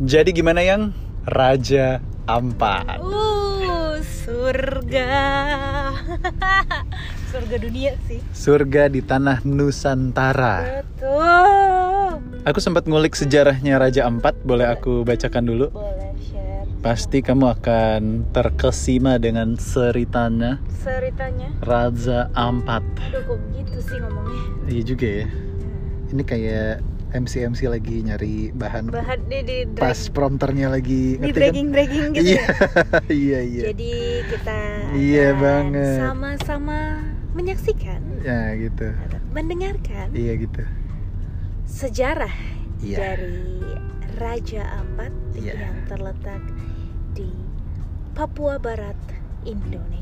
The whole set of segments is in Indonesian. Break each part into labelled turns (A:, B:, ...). A: Jadi gimana yang Raja Ampat?
B: Uh, surga. surga dunia sih.
A: Surga di tanah Nusantara.
B: Betul.
A: Aku sempat ngulik sejarahnya Raja Ampat, boleh aku bacakan dulu?
B: Boleh share
A: Pasti kamu akan terkesima dengan ceritanya
B: ceritanya.
A: Raja Ampat.
B: Aduh, kok gitu sih ngomongnya.
A: Iya juga ya. Ini kayak MC MC lagi nyari bahan.
B: Bahan di di drag,
A: Pas prompternya lagi
B: di
A: ngetik kan?
B: dragging dragging gitu.
A: Iya,
B: ya.
A: iya, iya.
B: Jadi kita
A: Iya
B: akan
A: banget.
B: sama-sama menyaksikan
A: Ya gitu.
B: atau mendengarkan
A: Iya gitu.
B: sejarah
A: Iya.
B: dari Raja Ampat
A: Iya.
B: yang terletak di Papua Barat, Indonesia.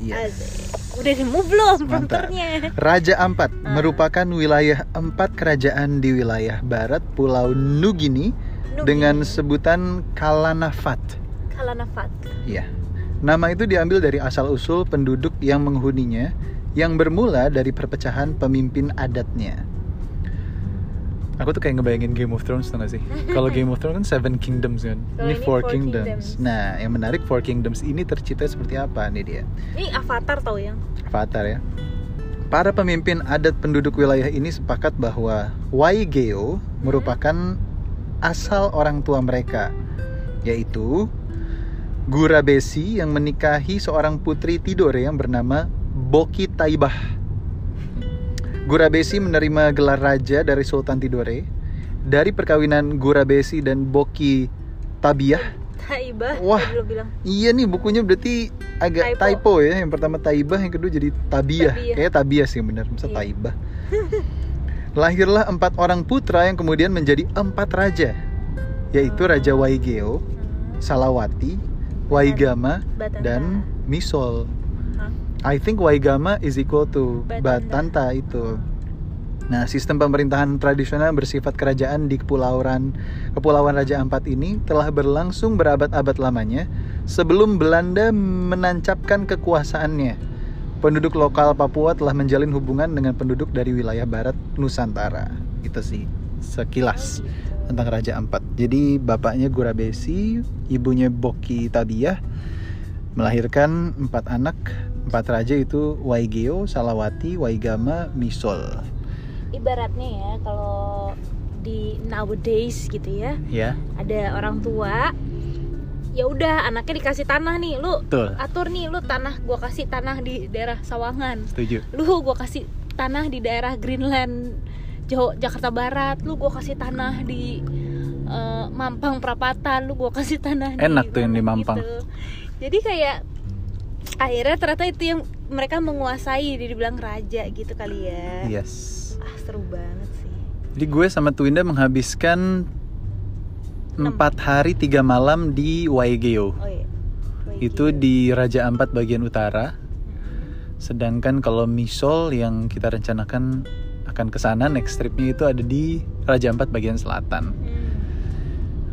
A: Yes.
B: Asik. Udah nemu belum
A: Iya. Mantap.
B: prompternya?
A: Raja Ampat
B: Ah.
A: merupakan wilayah empat kerajaan di wilayah barat Pulau Nugini
B: Nugi
A: dengan sebutan Kalanafat.
B: Kalanafat.
A: Iya. Nama itu diambil dari asal-usul penduduk yang menghuninya yang bermula dari perpecahan pemimpin adatnya. Aku tuh kayak ngebayangin Game of Thrones tau gak sih? Kalau Game of Thrones kan Seven Kingdoms kan?
B: Kalau
A: ini Four
B: ini Four
A: Kingdoms.
B: Kingdoms.
A: Nah, yang menarik Four Kingdoms ini tercipta seperti apa nih dia?
B: Ini avatar tau yang.
A: Avatar ya. Para pemimpin adat penduduk wilayah ini sepakat bahwa Waigeo merupakan asal orang tua mereka, yaitu Gurabesi yang menikahi seorang putri Tidore yang bernama Boki Taibah. Gurabesi menerima gelar raja dari Sultan Tidore. Dari perkawinan Gurabesi dan Boki Tabiah.
B: Taibah.
A: Wah.
B: tadi lo bilang.
A: Iya nih bukunya berarti agak typo,
B: Typo.
A: ya. Yang pertama Taibah, yang kedua jadi Tabiah.
B: Tabiah.
A: Kayaknya Tabiah sih yang benar, masa
B: Iya.
A: Taibah. Lahirlah empat orang putra yang kemudian menjadi empat raja,
B: Oh.
A: yaitu Raja Waigeo,
B: Hmm,
A: Salawati, Waigama,
B: Batanta.
A: dan Misol.
B: Hah?
A: I think Waigama is equal to
B: Batanta.
A: Batanta itu. Nah, sistem pemerintahan tradisional bersifat kerajaan di kepulauan Kepulauan Raja Ampat ini telah berlangsung berabad-abad lamanya sebelum Belanda menancapkan kekuasaannya. Penduduk lokal Papua telah menjalin hubungan dengan penduduk dari wilayah barat Nusantara. Itu sih sekilas
B: Oh, gitu.
A: tentang Raja Ampat. Jadi bapaknya Gurabesi, ibunya Boki Tadiah melahirkan empat anak, empat raja itu Waigeo, Salawati, Waigama, Misol.
B: Ibaratnya ya kalau di nowadays gitu ya
A: Ya,
B: ada orang tua ya udah anaknya dikasih tanah nih lu
A: betul.
B: atur nih lu tanah gua kasih tanah di daerah Sawangan
A: Setuju.
B: lu gua kasih tanah di daerah Greenland Jo- Jakarta Barat lu gua kasih tanah di eh, Mampang Prapatan lu gua kasih tanah di
A: Enak tuh yang di
B: mana
A: Mampang.
B: gitu. jadi kayak akhirnya ternyata itu yang mereka menguasai jadi dibilang raja gitu kali ya
A: Iya. Yes.
B: ah seru banget sih
A: Jadi gue sama Twinda menghabiskan empat hari tiga malam di Waigeo.
B: oh iya
A: Itu di Raja Ampat bagian utara. Sedangkan kalau Misol yang kita rencanakan akan ke sana next tripnya itu ada di Raja Ampat bagian selatan.
B: Hmm.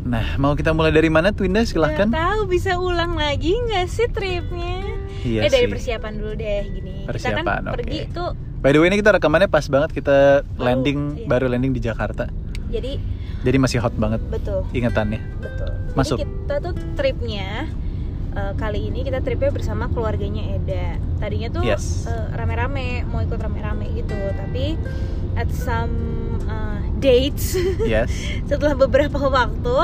A: Nah, mau kita mulai dari mana Twinda? Silahkan.
B: Silahkan. tahu bisa ulang lagi nggak sih tripnya?
A: Iya
B: eh dari
A: sih.
B: persiapan dulu deh gini. kita
A: Persiapan,
B: kan
A: oke.
B: pergi tuh
A: By the way ini kita rekamannya pas banget kita
B: Baru,
A: landing
B: iya.
A: baru landing di Jakarta.
B: jadi
A: Jadi masih hot banget
B: betul
A: ingatannya.
B: betul.
A: Masuk.
B: Jadi kita tuh tripnya eh, kali ini kita tripnya bersama keluarganya Eda. Tadinya tuh
A: Yes.
B: eh, rame-rame mau ikut rame-rame gitu tapi at some eh, dates
A: Yes.
B: setelah beberapa waktu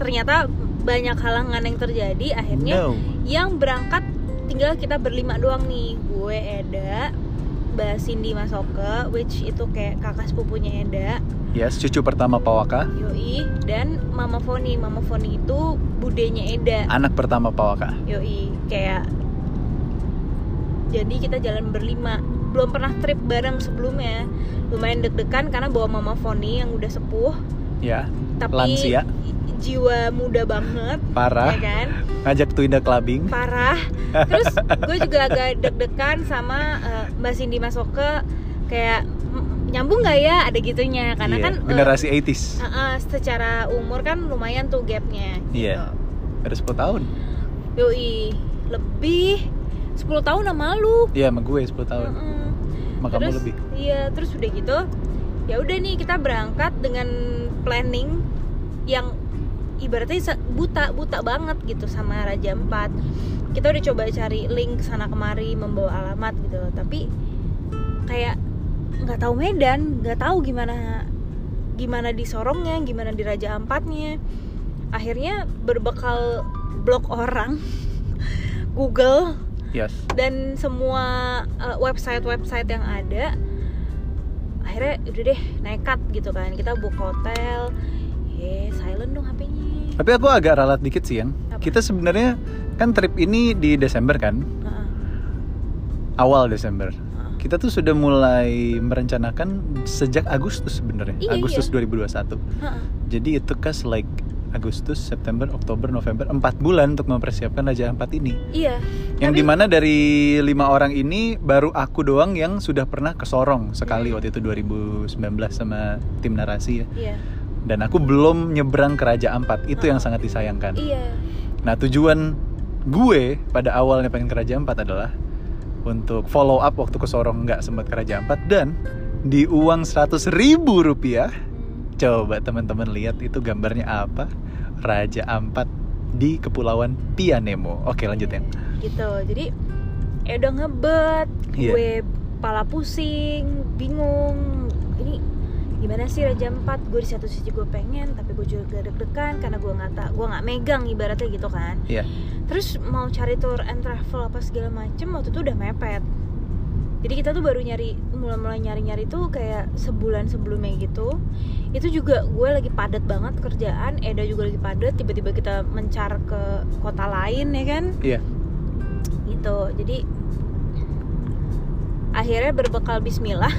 B: ternyata banyak halangan yang terjadi akhirnya
A: no.
B: yang berangkat tinggal kita berlima doang nih gue Eda Mbak Cindy Masoke which itu kayak kakak sepupunya Eda
A: Yes, cucu pertama Pawaka,
B: Yoi dan Mama Foni Mama Foni itu budenya Eda
A: anak pertama Pawaka.
B: Yoi kayak jadi kita jalan berlima belum pernah trip bareng sebelumnya lumayan deg-degan karena bawa Mama Foni yang udah sepuh
A: Ya,
B: tapi
A: lansia,
B: jiwa muda banget ya
A: parah,
B: kan
A: ngajak Twinda clubbing.
B: parah terus gue juga agak deg-degan sama eh, mbak Cindy masuk ke kayak "M- nyambung nggak ya ada gitunya karena
A: Iya,
B: kan eh,
A: generasi 80s.
B: eh, eh, secara umur kan lumayan tuh gapnya gitu.
A: Iya. Ada 10 tahun.
B: yoi lebih 10 tahun sama lu
A: Iya, sama gue 10 tahun.
B: Heeh.
A: Sama kamu
B: terus
A: lebih.
B: iya terus udah gitu ya udah nih kita berangkat dengan planning yang ibaratnya se- buta buta banget gitu sama Raja Empat kita udah coba cari link sana kemari membawa alamat gitu loh tapi kayak nggak tahu Medan nggak tahu gimana gimana di Sorongnya gimana di Raja Ampatnya akhirnya berbekal blog orang Google
C: Yes.
B: dan semua uh, website-website yang ada akhirnya udah deh nekat gitu kan kita book hotel eh silent dong HP-nya
A: Tapi aku agak ralat dikit sih, Yan.
B: Apa?
A: Kita sebenarnya kan trip ini di Desember kan?
B: Heeh,
A: Awal Desember.
B: heeh.
A: Kita tuh sudah mulai merencanakan sejak Agustus sebenarnya,
B: Iya,
A: Agustus 2021.
B: Heeh.
A: Jadi itu kas like Agustus, September, Oktober, November, 4 bulan untuk mempersiapkan Raja Ampat ini.
B: iya
A: Yang
B: Tapi-
A: dimana dari lima orang ini baru aku doang yang sudah pernah ke Sorong sekali
B: Hmm.
A: waktu itu 2019 sama tim narasi ya.
B: iya
A: Dan aku belum nyebrang ke Raja Ampat. Itu
B: Ah.
A: yang sangat disayangkan.
B: iya
A: Nah tujuan gue pada awalnya pengen ke Raja Ampat adalah untuk follow up waktu ke Sorong nggak sempat ke Raja Ampat dan di uang 100.000 ribu rupiah
B: Hmm.
A: coba teman-teman lihat itu gambarnya apa Raja Ampat di Kepulauan Pianemo. Oke lanjut ya.
B: gitu jadi ya udah ngebet
A: Iya.
B: gue pala pusing bingung ini gimana sih raja empat gue di satu sisi gue pengen tapi gue juga deg-degan karena gue nggak tak gue nggak megang ibaratnya gitu kan
A: Iya.
B: terus mau cari tour and travel apa segala macem waktu itu udah mepet jadi kita tuh baru nyari mulai-mulai nyari-nyari tuh kayak sebulan sebelumnya gitu itu juga gue lagi padat banget kerjaan Eda juga lagi padat tiba-tiba kita mencar ke kota lain ya kan
A: Iya.
B: gitu jadi akhirnya berbekal Bismillah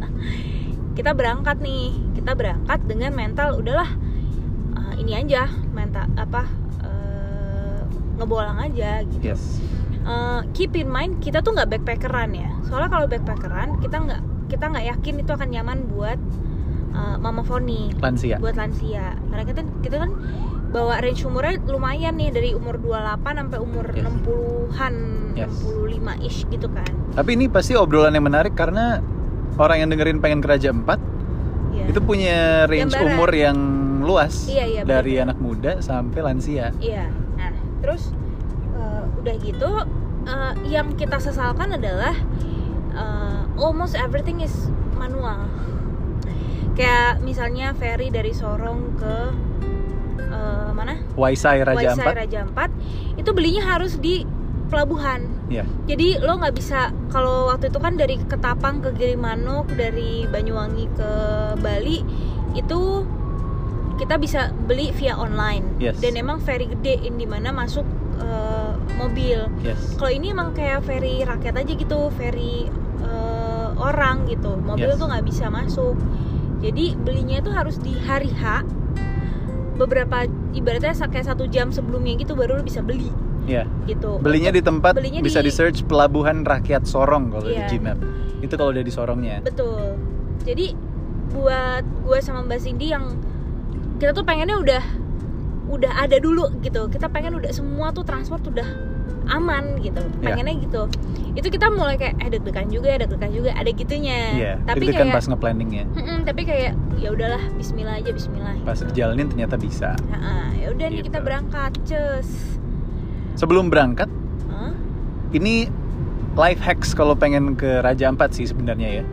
B: kita berangkat nih kita berangkat dengan mental udahlah eh, ini aja mental apa eh, ngebolang aja gitu
A: Yes.
B: Eh, keep in mind kita tuh nggak backpackeran ya soalnya kalau backpackeran kita nggak kita nggak yakin itu akan nyaman buat eh, mama Foni
A: Lansia.
B: buat lansia karena kita kita kan bawa range umurnya lumayan nih dari umur 28 sampai umur
A: Yes.
B: 60-an
A: Yes.
B: 65 ish gitu kan
A: Tapi ini pasti obrolan yang menarik karena orang yang dengerin pengen ke Raja Ampat
B: Iya.
A: itu punya range
B: Gambaran.
A: umur yang luas
B: Iya, iya,
A: dari anak muda sampai lansia.
B: iya nah terus eh, udah gitu eh, yang kita sesalkan adalah eh, almost everything is manual kayak misalnya ferry dari Sorong ke eh, mana
A: Waisai Raja
B: Waisai
A: Ampat.
B: Raja Ampat itu belinya harus di pelabuhan.
A: Iya.
B: Jadi lo nggak bisa kalau waktu itu kan dari Ketapang ke Gilimanuk, dari Banyuwangi ke Bali itu kita bisa beli via online.
A: Yes.
B: Dan emang ferry gede yang dimana masuk eh, mobil.
A: Yes.
B: Kalau ini emang kayak ferry rakyat aja gitu, ferry eh, orang gitu. Mobil
A: Yes.
B: tuh nggak bisa masuk. Jadi belinya itu harus di hari H beberapa ibaratnya sa- kayak satu jam sebelumnya gitu baru lu bisa beli
A: Iya.
B: gitu.
A: Belinya di tempat
B: Belinya
A: bisa di
B: di-
A: search Pelabuhan Rakyat Sorong kalau
B: Iya.
A: di Gmap. Itu kalau udah di Sorongnya.
B: Betul. Jadi buat gue sama Mbak Cindy yang kita tuh pengennya udah udah ada dulu gitu. Kita pengen udah semua tuh transport udah aman gitu.
A: Iya.
B: Pengennya gitu. Itu kita mulai kayak eh deg-degan juga, deg-degan juga, ada gitunya.
A: Iya.
B: Tapi
A: deg-degan
B: kayak
A: pas nge-planningnya.
B: Mm-mm, tapi kayak ya udahlah bismillah aja bismillah.
A: Pas dijalanin ternyata bisa.
B: Nah, ya udah
A: Gitu.
B: nih kita berangkat, cus.
A: Sebelum berangkat,
B: Hah?
A: ini life hacks kalau pengen ke Raja Ampat sih sebenarnya ya.
B: Hah?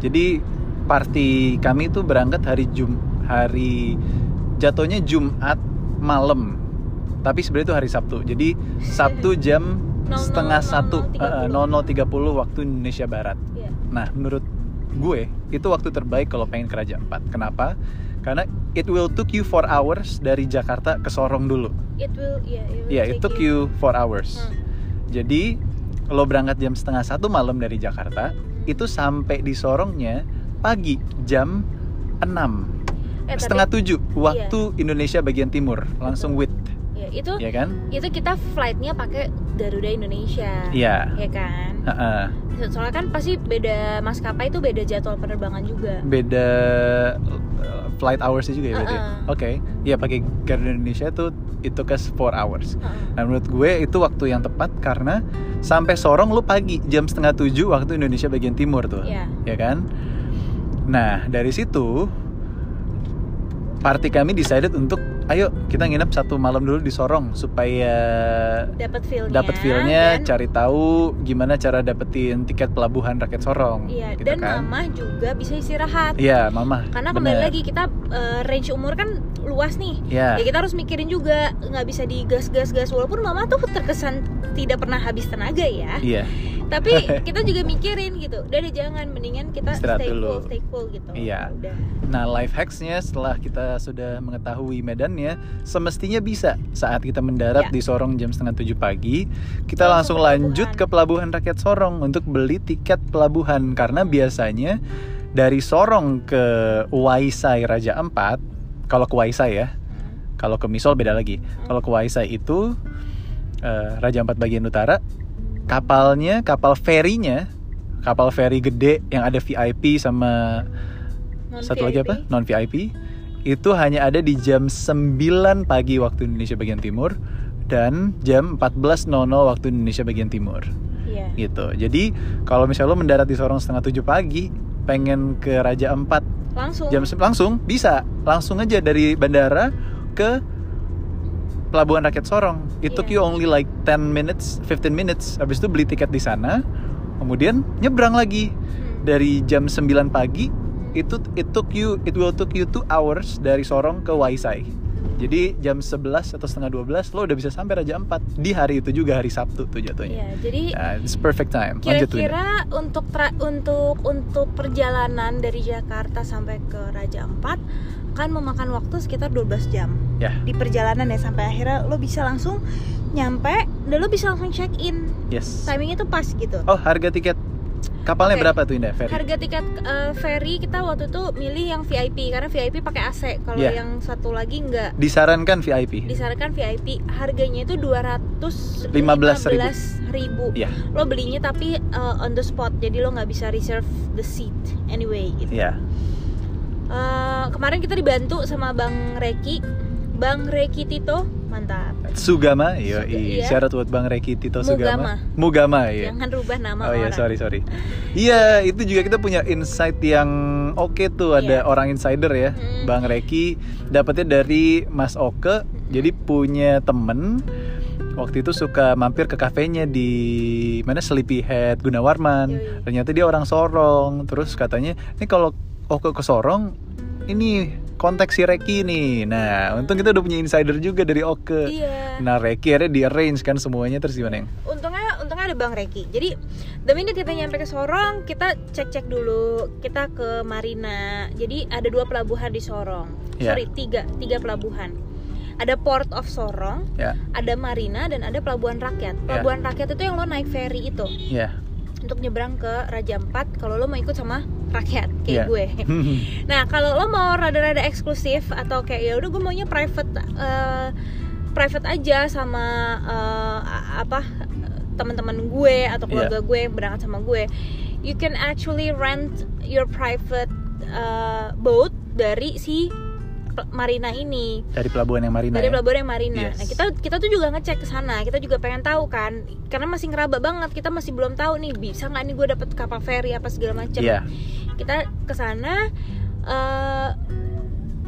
A: Jadi party kami itu berangkat hari Jum hari jatuhnya Jumat malam. Tapi sebenarnya itu hari Sabtu. Jadi Sabtu jam
B: 00,
A: setengah satu
B: 00.30.
A: eh, 00.30 waktu Indonesia Barat.
B: Iya.
A: Nah, menurut gue itu waktu terbaik kalau pengen ke Raja Ampat. Kenapa? Karena it will took you 4 hours dari Jakarta ke Sorong dulu.
B: It will yeah, it will
A: Ya, it
B: take
A: took you 4 hours.
B: Hmm.
A: Jadi lo berangkat jam setengah satu malam dari Jakarta, itu sampai di Sorongnya pagi jam 6
B: Eh, tapi-
A: setengah tujuh waktu Indonesia bagian timur langsung with
B: ya, itu
A: ya kan
B: itu kita flightnya pakai Garuda Indonesia
A: Iya
B: ya kan
A: Heeh.
B: So- soalnya kan pasti beda maskapai itu beda jadwal penerbangan juga
A: beda uh, flight hoursnya juga ya berarti ya?
B: Heeh.
A: oke ya pakai Garuda Indonesia tuh itu ke 4 hours
B: Heeh.
A: Nah menurut gue itu waktu yang tepat karena sampai Sorong lu pagi jam setengah tujuh waktu Indonesia bagian Iya timur tuh,
B: Iya.
A: ya kan? Nah dari situ party kami decided untuk ayo kita nginep satu malam dulu di Sorong supaya
B: dapat feelnya
A: dapat feelnya,
B: dan-
A: cari tahu gimana cara dapetin tiket pelabuhan rakyat Sorong.
B: iya
A: gitu
B: dan
A: kan.
B: mama juga bisa istirahat
A: Iya, mama.
B: karena kembali
A: bener.
B: lagi kita eh, range umur kan luas nih
A: Iya.
B: ya kita harus mikirin juga nggak bisa digas gas gas walaupun mama tuh terkesan tidak pernah habis tenaga ya
A: Iya.
B: tapi kita juga mikirin gitu udah deh jangan mendingan kita
A: Istirahat
B: stay
A: dulu.
B: cool stay cool gitu
A: Iya.
B: udah
A: Nah, life hacks-nya setelah kita sudah mengetahui medannya, semestinya bisa saat kita mendarat
B: Ya.
A: di Sorong jam setengah tujuh pagi, kita langsung
B: Langsung
A: lanjut ke
B: pelabuhan.
A: pelabuhan rakyat Sorong untuk beli tiket pelabuhan karena biasanya dari Sorong ke Waisai Raja Empat, kalau ke Waisai ya, kalau ke Misol beda lagi. Kalau ke Waisai itu eh, Raja Empat bagian utara, kapalnya, kapal ferinya, kapal feri gede yang ada VIP sama
B: Non
A: satu lagi
B: VIP.
A: apa? Non VIP. Itu hanya ada di jam 9 pagi waktu Indonesia bagian timur dan jam 14.00 waktu Indonesia bagian timur
B: Iya.
A: gitu. Jadi kalau misalnya lo mendarat di Sorong setengah tujuh pagi, pengen ke Raja Empat
B: langsung
A: jam se- langsung bisa langsung aja dari bandara ke Pelabuhan Rakyat Sorong. It took you
B: Iya.
A: only like 10 minutes, 15 minutes. Habis itu beli tiket di sana, kemudian nyebrang lagi
B: Hmm.
A: dari jam 9 pagi itu it took you it will took you two hours dari Sorong ke Waisai. Jadi jam 11 atau setengah 12 lo udah bisa sampai Raja Empat di hari itu juga hari Sabtu tuh jatuhnya.
B: Iya, jadi
A: Nah, it's perfect time. Lanjut Winda.
B: kira-kira untuk tra- untuk untuk perjalanan dari Jakarta sampai ke Raja Ampat akan memakan waktu sekitar 12 jam
A: Ya.
B: di perjalanan ya sampai akhirnya lo bisa langsung nyampe dan lo bisa langsung check in
A: Yes.
B: timingnya tuh pas gitu
A: Oh, harga tiket kapalnya
B: Oke.
A: berapa tuh Indah? Ferry?
B: harga tiket eh, ferry kita waktu itu milih yang VIP karena VIP pakai AC kalau
A: Iya.
B: yang satu lagi enggak
A: Disarankan VIP.
B: disarankan VIP harganya itu 215.000 ribu
A: Iya.
B: lo belinya tapi uh, on the spot jadi lo nggak bisa reserve the seat anyway gitu
A: Ya.
B: Uh, kemarin kita dibantu sama bang Reki bang Reki Tito mantap
A: Sugama, yo
B: Suga- iya.
A: syarat buat Bang Reki Tito Sugama. Mugama, iya.
B: jangan rubah nama
A: Oh iya,
B: orang
A: sorry sorry. Iya, itu juga kita punya insight yang oke tuh ada
B: Iya.
A: orang insider ya,
B: Mm.
A: Bang Reki. Dapatnya dari Mas Oke,
B: Hmm.
A: jadi punya temen waktu itu suka mampir ke kafenya di mana Sleepyhead Gunawarman.
B: Yoi.
A: Ternyata dia orang Sorong, terus katanya ini kalau Oke ke Sorong, ini konteks si Reki nih. Nah, untung kita udah punya insider juga dari Oke.
B: iya
A: Nah, Reki akhirnya di arrange kan semuanya terus gimana yang?
B: untungnya untungnya ada bang Reki jadi the minute kita nyampe ke Sorong kita cek cek dulu kita ke Marina jadi ada dua pelabuhan di Sorong
A: Iya.
B: sorry tiga tiga pelabuhan ada Port of Sorong
A: Ya,
B: ada Marina dan ada Pelabuhan
A: Iya.
B: Rakyat. Pelabuhan Rakyat itu yang lo naik ferry itu
A: ya.
B: untuk nyebrang ke Raja Ampat kalau lo mau ikut sama rakyat
A: Iya.
B: kayak gue. Nah kalau lo mau rada-rada eksklusif atau kayak ya udah gue maunya private eh, private aja sama eh, a- apa teman-teman gue atau keluarga gue yang berangkat sama gue, you can actually rent your private eh, boat dari si pe- Marina ini
A: dari pelabuhan yang Marina.
B: dari
A: ya?
B: pelabuhan yang Marina. Nah,
A: Yes.
B: kita kita tuh juga ngecek ke sana. Kita juga pengen tahu kan, karena masih ngeraba banget. Kita masih belum tahu nih bisa nggak nih gue dapet kapal feri apa segala macam.
A: Iya.
B: Kita ke sana eh,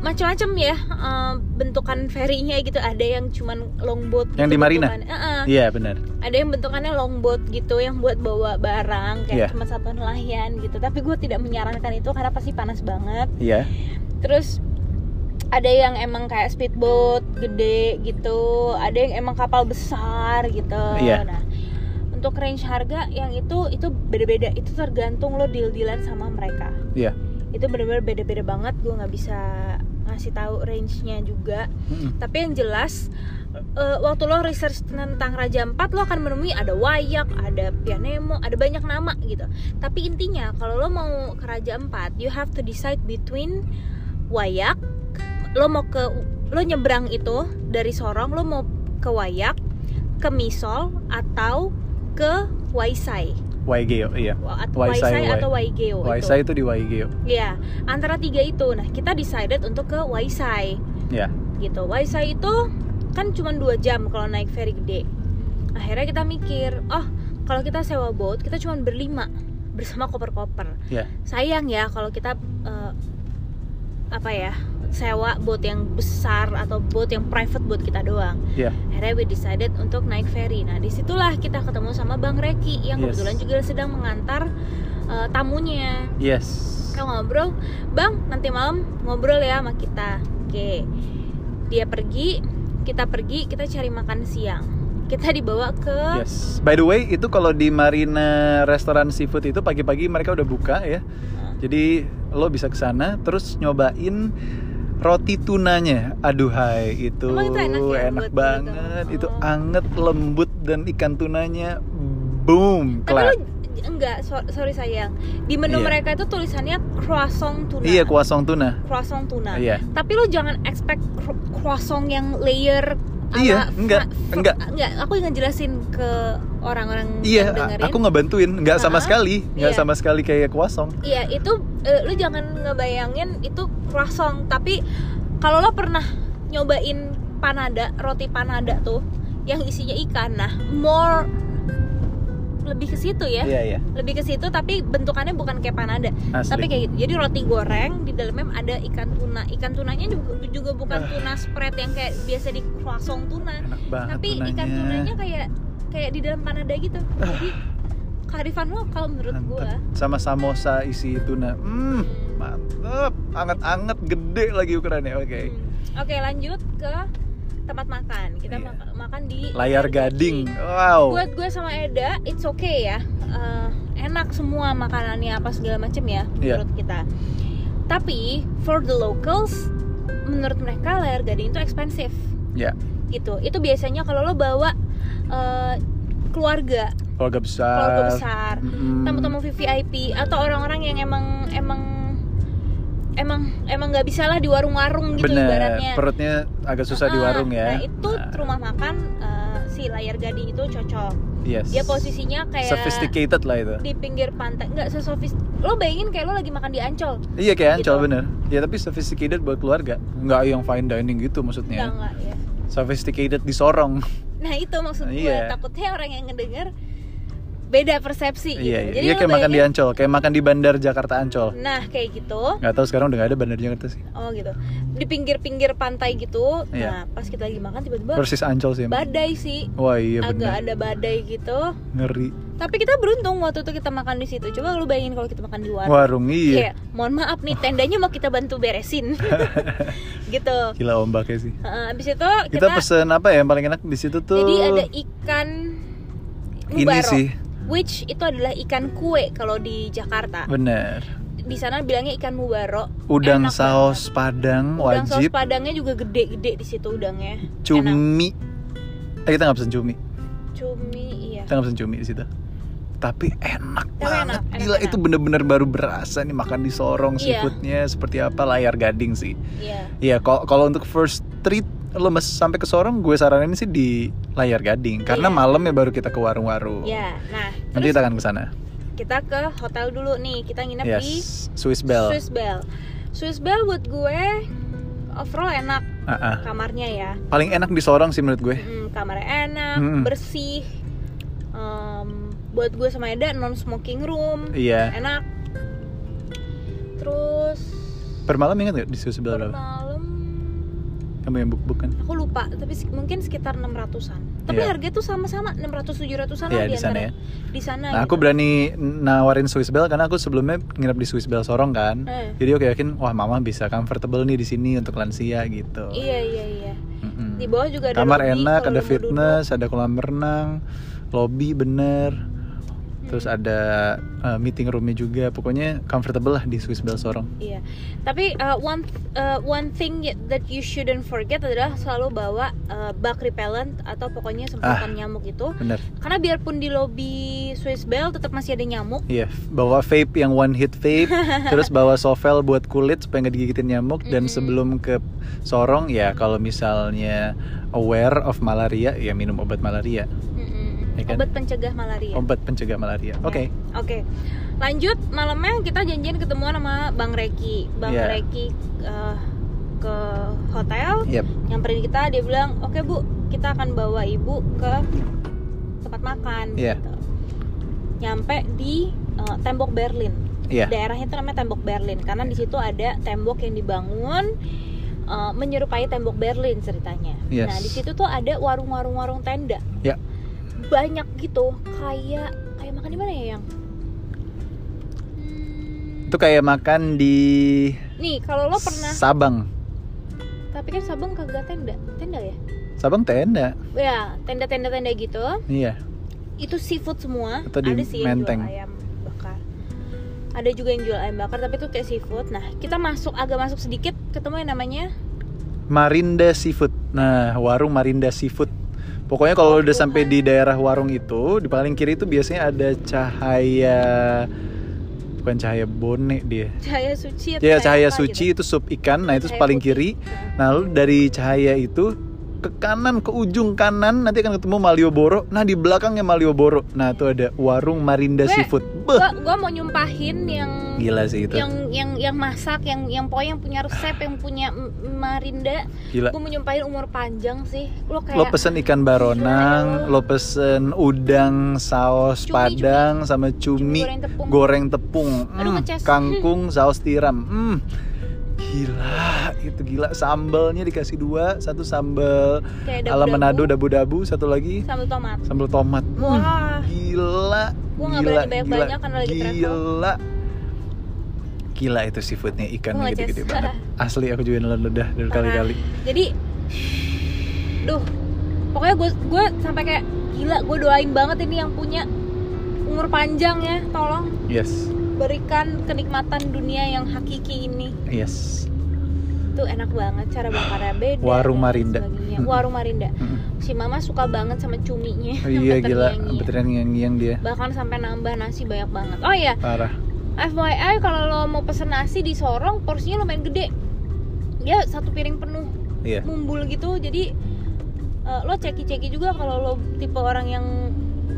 B: macam-macam ya eh, bentukan ferinya gitu. Ada yang cuman longboat.
A: Yang
B: gitu
A: di Marina?
B: bentukannya. Eh, eh.
A: Iya benar.
B: Ada yang bentukannya longboat gitu, yang buat bawa barang kayak
A: Iya.
B: cuma satu nelayan gitu. Tapi gue tidak menyarankan itu karena pasti panas banget
A: Iya.
B: terus ada yang emang kayak speedboat gede gitu ada yang emang kapal besar gitu
A: Iya.
B: nah untuk range harga yang itu itu beda-beda itu tergantung lo deal dealan sama mereka
A: Iya.
B: itu bener-bener beda-beda banget gue nggak bisa ngasih tahu range nya juga
A: Mm-mm.
B: tapi yang jelas eh, waktu lo research tentang Raja Ampat lo akan menemui ada wayak, ada pianemo, ada banyak nama gitu. Tapi intinya kalau lo mau ke Raja Ampat, you have to decide between wayak, lo mau ke lo nyebrang itu dari Sorong lo mau ke wayak, ke Misol atau ke Waisai.
A: Waigeo, iya.
B: Wa- at-
A: Waisai,
B: Waisai
A: Wai-
B: atau Waigeo Oh, itu.
A: Waisai itu di Waigeo.
B: Iya, antara tiga itu. Nah, kita decided untuk ke Waisai
A: Iya.
B: gitu. Waisai itu kan cuma dua jam kalau naik ferry gede. Akhirnya kita mikir, oh kalau kita sewa boat kita cuma berlima bersama koper-koper.
A: Iya.
B: Sayang ya kalau kita eh, apa ya sewa boat yang besar atau boat yang private buat kita doang.
A: Iya.
B: Akhirnya we decided untuk naik ferry. Nah disitulah kita ketemu sama Bang Reki yang
A: Yes.
B: kebetulan juga sedang mengantar eh, tamunya.
A: Yes.
B: Kita ngobrol, Bang nanti malam ngobrol ya sama kita. Oke, dia pergi, kita pergi, kita cari makan siang. Kita dibawa ke
A: Yes. By the way, itu kalau di Marina Restoran Seafood itu pagi-pagi mereka udah buka ya. Jadi lo bisa ke sana terus nyobain roti tunanya. Aduhai, itu,
B: Emang itu enak ya buat
A: banget. Itu
B: gitu? Oh.
A: anget, lembut dan ikan tunanya boom,
B: Tapi
A: kelar.
B: lu j- enggak, so- sorry sayang. Di menu
A: Iya.
B: mereka itu tulisannya croissant tuna.
A: Iya, kuasong tuna.
B: croissant tuna.
A: Iya.
B: Tapi lu jangan expect cro- croissant yang layer ala
A: Iya,
B: fra-
A: enggak,
B: fra-
A: enggak.
B: enggak. Aku ngejelasin ke orang-orang
A: Iya, a-
B: yang dengerin.
A: aku nggak bantuin, nggak sama
B: Ah,
A: sekali, nggak
B: iya.
A: sama sekali kayak kuasong.
B: Iya, itu eh, lu jangan ngebayangin itu croissant, tapi kalau lo pernah nyobain panada, roti panada tuh yang isinya ikan. Nah, more lebih ke situ ya.
A: Iya, iya.
B: Lebih ke situ tapi bentukannya bukan kayak panada.
A: Asli.
B: tapi kayak gitu jadi roti goreng di dalamnya ada ikan tuna ikan tunanya juga, juga bukan tuna spread yang kayak biasa di croissant tuna
A: enak banget
B: tapi
A: Ah, tunanya.
B: ikan tunanya kayak kayak di dalam panada gitu jadi kearifan lokal menurut
A: Mantep.
B: gua
A: Sama samosa isi tuna. Hmm,
B: Hmm.
A: mantep. Anget-anget gede lagi ukurannya. Oke.
B: Hmm. oke lanjut ke tempat makan kita
A: Iya. Oh.
B: maka- makan di
A: Layar gading. Wow.
B: Iya, buat gue sama Eda it's okay ya Eh, enak semua makanannya apa segala macem ya
A: Iya.
B: menurut kita tapi for the locals menurut mereka layar gading itu expensive
A: Ya.
B: gitu itu biasanya kalau lo bawa eh, keluarga
A: Keluarga besar.
B: keluarga besar
A: Mm-mm.
B: tamu-tamu VIP atau orang-orang yang emang emang emang emang nggak bisa lah di warung-warung gitu
A: Bener.
B: ibaratnya
A: Perutnya agak susah di
B: Ah,
A: warung ya.
B: nah itu
A: Nah,
B: rumah makan eh, si layar gading itu cocok
A: yes.
B: dia posisinya kayak
A: sophisticated lah itu.
B: di pinggir pantai nggak sesofis lo bayangin kayak lo lagi makan di ancol
A: Iya kayak ancol
B: gitu.
A: bener. Ya tapi sophisticated buat keluarga. Nggak yang fine dining gitu
B: nggak
A: maksudnya.
B: nggak ya
A: Sophisticated di Sorong.
B: nah itu maksud gue
A: Iya.
B: takutnya orang yang ngedenger beda persepsi gitu.
A: Iya, iya.
B: jadi
A: Iya
B: lo
A: kayak makan di
B: bayangin,
A: ancol. Kayak makan di bandar Jakarta ancol.
B: nah kayak gitu
A: Nggak tahu sekarang udah nggak ada bandar Jakarta sih.
B: oh gitu di pinggir-pinggir pantai gitu nah
A: Iya.
B: pas kita lagi makan tiba-tiba
A: Persis ancol sih. emang.
B: badai sih
A: Wah iya
B: agak
A: bener.
B: ada badai gitu
A: Ngeri.
B: tapi kita beruntung waktu itu kita makan di situ coba lu bayangin kalau kita makan di warung
A: Warung iya.
B: Kayak, mohon maaf nih tendanya mau kita bantu beresin gitu
A: Gila ombaknya sih.
B: Heeh, abis itu
A: Kita, pesen apa ya yang paling enak di situ tuh?
B: Jadi ada ikan
A: ini
B: mubaro,
A: sih,
B: which itu adalah ikan kue kalau di Jakarta.
A: bener.
B: Di sana bilangnya ikan mubaro.
A: Udang
B: Enak
A: saus padang
B: Udang saus
A: wajib,
B: padangnya juga gede-gede di situ udangnya.
A: cumi. Eh kita nggak pesen cumi,
B: Cumi iya.
A: kita nggak pesen cumi di situ. Tapi enak
B: Tapi
A: banget,
B: enak, enak,
A: gila
B: enak.
A: itu bener-bener baru berasa nih makan di Sorong
B: Iya.
A: seafoodnya seperti apa layar gading sih.
B: Iya.
A: Iya, kalau kalau untuk first treat lo mas sampai ke Sorong, gue saranin sih di layar gading karena
B: Iya.
A: malam ya baru kita ke warung-warung.
B: Ya, nah
A: Nanti
B: terus
A: kita akan ke sana.
B: kita ke hotel dulu nih. Kita nginep di
A: Yes, Swiss Bell.
B: Swiss Bell. Swiss Bell buat gue overall enak
A: Ah, ah.
B: kamarnya ya.
A: Paling enak di Sorong sih menurut gue.
B: Mm, kamarnya enak,
A: Mm.
B: bersih. Em, buat gue sama Eda non smoking room.
A: Iya.
B: enak terus
A: Per malam ingat nggak di Swiss Bell
B: Iya. per
A: berapa?
B: malam
A: Kamu yang book book kan?
B: aku lupa tapi sek- mungkin sekitar 600-an tapi
A: Iya.
B: harga tuh sama-sama 600 700-an lah
A: Iya di sana
B: antara-
A: ya.
B: di sana
A: Nah aku
B: gitu.
A: berani nawarin Swiss Bell karena aku sebelumnya nginep di Swiss Bell Sorong kan.
B: Eh,
A: Jadi aku yakin wah mama bisa comfortable nih di sini untuk lansia gitu.
B: iya iya iya
A: Mm-mm.
B: di bawah juga ada
A: Hmm. Kamar
B: lobby
A: enak,
B: kalau
A: ada
B: mau
A: fitness, ada kolam renang, lobby bener.
B: duduk.
A: Terus
B: Hmm,
A: ada uh, meeting roomnya juga. Pokoknya comfortable lah di Swiss Bell Sorong.
B: iya tapi uh, one uh, one thing y- that you shouldn't forget adalah selalu bawa uh, bug repellent atau pokoknya
A: Ah.
B: semprotan nyamuk itu
A: Bener.
B: karena biarpun di lobby Swiss Bell tetap masih ada nyamuk
A: Iya, bawa vape yang one hit vape, terus bawa sovel buat kulit supaya nggak digigitin nyamuk dan
B: Mm-mm.
A: sebelum ke sorong ya kalau misalnya aware of malaria ya minum obat malaria,
B: Mm-mm.
A: Ya kan?
B: obat pencegah malaria Ya.
A: obat pencegah
B: Iya.
A: malaria. Oke.
B: Oke, lanjut malamnya kita janjian ketemuan sama Bang Reki. Bang
A: Iya.
B: Reki eh, ke hotel,
A: Yep.
B: nyamperin kita, dia bilang, oke bu, kita akan bawa ibu ke tempat makan.
A: Iya.
B: gitu. Nyampe di eh, tembok Berlin.
A: Iya.
B: Daerahnya itu namanya tembok Berlin karena di situ ada tembok yang dibangun eh, menyerupai tembok Berlin ceritanya.
A: Yes.
B: Nah, di situ tuh ada warung-warung-warung tenda.
A: Ya.
B: Banyak gitu, kayak kayak makan di mana ya yang? Hmm,
A: Itu kayak makan di
B: Nih, kalau lo pernah,
A: Sabang.
B: tapi kan Sabang kagak tenda, tenda ya?
A: Sabang tenda.
B: Ya, tenda-tenda-tenda gitu.
A: Iya.
B: Itu seafood semua.
A: Atau di
B: ada sih yang
A: Menteng.
B: jual ayam bakar. Ada juga yang jual ayam bakar, tapi itu kayak seafood. Nah, kita masuk agak masuk sedikit, ketemu yang namanya
A: Marinda Seafood. Nah, warung Marinda Seafood. Pokoknya kalau udah sampai di daerah warung itu, di paling kiri itu biasanya ada cahaya bukan cahaya bonek dia.
B: Iya, Cahaya Suci. atau
A: Ya, cahaya
B: apa
A: suci
B: gitu.
A: itu sup ikan. Nah, itu
B: Cahaya
A: paling
B: putih.
A: kiri.
B: Nah,
A: Nah, lalu dari cahaya itu ke kanan ke ujung kanan nanti akan ketemu Malioboro. Nah, di belakangnya Malioboro. Nah, itu ada warung Marinda
B: Gue-
A: Seafood. Beh,
B: Gua, gua mau nyumpahin yang
A: gila sih itu.
B: yang yang yang masak yang yang pokoknya yang punya resep yang punya m- marinda
A: Gila.
B: gue menyumpahin umur panjang sih
A: Lo
B: lo kayak Gitu.
A: pesen ikan baronang,
B: Gila,
A: lo pesen udang saus
B: Cumi,
A: padang sama
B: cumi
A: cumi
B: goreng tepung
A: goreng tepung,
B: Aduh,
A: Mm,
B: ngeces.
A: kangkung saus tiram. Mm. Gila, itu gila. Sambalnya dikasih dua, satu sambal
B: kayak
A: ala
B: dabu-dabu,
A: Manado dabu-dabu, satu lagi
B: sambal tomat
A: sambal tomat. Mm,
B: wah
A: Gila,
B: Gua nggak
A: gila,
B: berani
A: gila,
B: banyak-banyak karena lagi travel.
A: gila. Gila itu seafoodnya ikan
B: Gua ngeces.
A: gede-gede banget. Asli aku juga nelan ludah dari kali-kali.
B: jadi duh pokoknya gue gue sampai kayak gila gue doain banget ini yang punya umur panjang ya tolong
A: Yes,
B: berikan kenikmatan dunia yang hakiki ini
A: yes.
B: itu enak banget cara bakarnya beda
A: Warung
B: dan
A: Marinda.
B: sebagainya.
A: Mm-mm.
B: warung marinda
A: Mm.
B: si mama suka banget sama cuminya
A: Oh iya
B: sampai
A: gila,
B: terngiang-ngiang.
A: beneran ngiang-ngiang dia
B: bahkan sampai nambah nasi banyak banget oh iya
A: Parah
B: FYI kalau lo mau pesen nasi di Sorong porsinya lumayan gede dia satu piring penuh
A: Iya
B: mumbul gitu jadi eh, lo ceki-ceki juga kalau lo tipe orang yang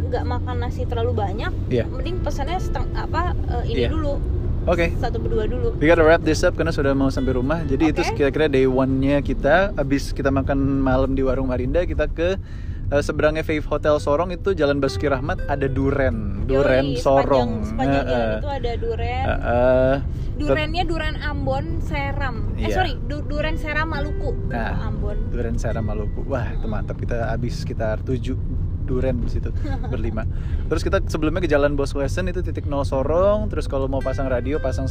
B: nggak makan nasi terlalu banyak
A: Iya.
B: mending pesannya seteng apa eh,
A: Iya.
B: ini dulu
A: Oke
B: satu berdua dulu
A: We gotta wrap this up karena sudah mau sampai rumah Jadi itu
B: Oke.
A: kira-kira day one-nya kita Abis kita makan malam di warung Marinda Kita ke eh, seberangnya Fave Hotel Sorong itu Jalan Basuki Rahmat ada Duren Duren
B: Yoi,
A: Sorong
B: sepanjang, sepanjang jalan
A: Heeh.
B: itu ada duren
A: Heeh.
B: durennya duren Ambon Seram eh
A: Iya.
B: sorry du- duren Seram Maluku
A: Nah.
B: bukan Ambon
A: Duren Sarah Maluku Wah itu
B: Mm-mm.
A: mantap kita abis sekitar 7 Duren di situ berlima. Terus kita sebelumnya ke Jalan Bosco Lesson itu titik nol Sorong. Terus kalau mau pasang radio pasang 96,7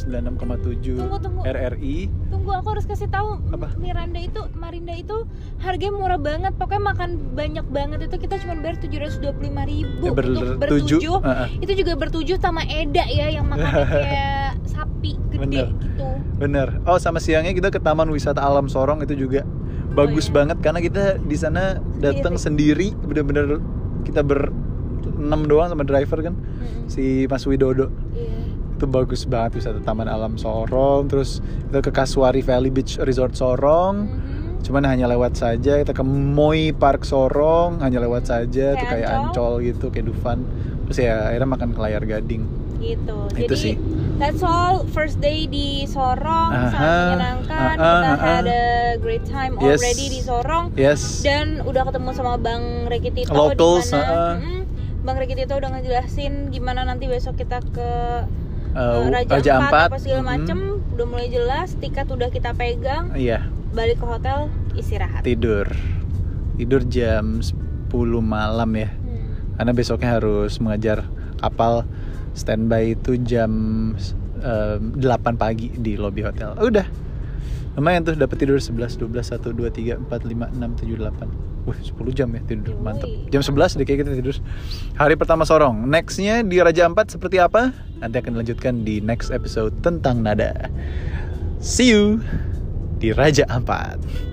B: tunggu tunggu
A: RRI.
B: tunggu aku harus kasih tahu
A: Er-
B: M-
A: Apa?
B: Miranda itu Marinda itu harganya murah banget pokoknya makan banyak banget itu kita cuma bayar tujuh ratus dua puluh lima ribu
A: Eh, ber-
B: untuk
A: tujuh.
B: bertujuh
A: Heeh.
B: itu juga bertujuh sama Eda ya yang makannya kayak sapi
A: Bener.
B: gede gitu
A: Bener. Oh sama siangnya kita ke Taman Wisata Alam Sorong itu juga bagus
B: iya.
A: banget karena kita di sana datang sendiri bener-bener kita ber enam doang sama driver kan
B: Mm-mm.
A: si Mas Widodo
B: Iya.
A: itu bagus banget wisata Taman Alam Sorong terus kita ke Kaswari Valley Beach Resort Sorong
B: Mhm.
A: cuman hanya lewat saja kita ke Moi Park Sorong hanya lewat saja itu
B: Kayak
A: kayak
B: Ancol.
A: Ancol gitu kayak Dufan terus ya akhirnya makan ke layar gading
B: gitu
A: Nah, Itu
B: jadi
A: sih.
B: that's all first day di Sorong sangat
A: Aha,
B: menyenangkan
A: aha,
B: kita
A: aha.
B: had a great time
A: Yes.
B: already di Sorong
A: yes eh,
B: dan udah ketemu sama Bang Reki Tito
A: Locals,
B: di mana
A: heeh.
B: Mm, Bang Reki Tito udah ngejelasin gimana nanti besok kita ke eh,
A: Uh,
B: Raja,
A: Raja
B: Ampat,
A: Ampat
B: apa segala
A: Mm-mm.
B: macem udah mulai jelas tiket udah kita pegang
A: iya
B: balik ke hotel istirahat
A: tidur tidur jam 10 malam ya
B: Hmm.
A: karena besoknya harus mengejar kapal standby itu jam em, 8 pagi di lobby hotel Oh, udah lumayan tuh dapat tidur 11 12 1 2 3 4 5 6 7 8 Wih, 10 jam ya tidur
B: Yoi.
A: mantep jam 11 deh kayak kita tidur hari pertama sorong nextnya di Raja Ampat seperti apa nanti akan dilanjutkan di next episode tentang nada see you di Raja Ampat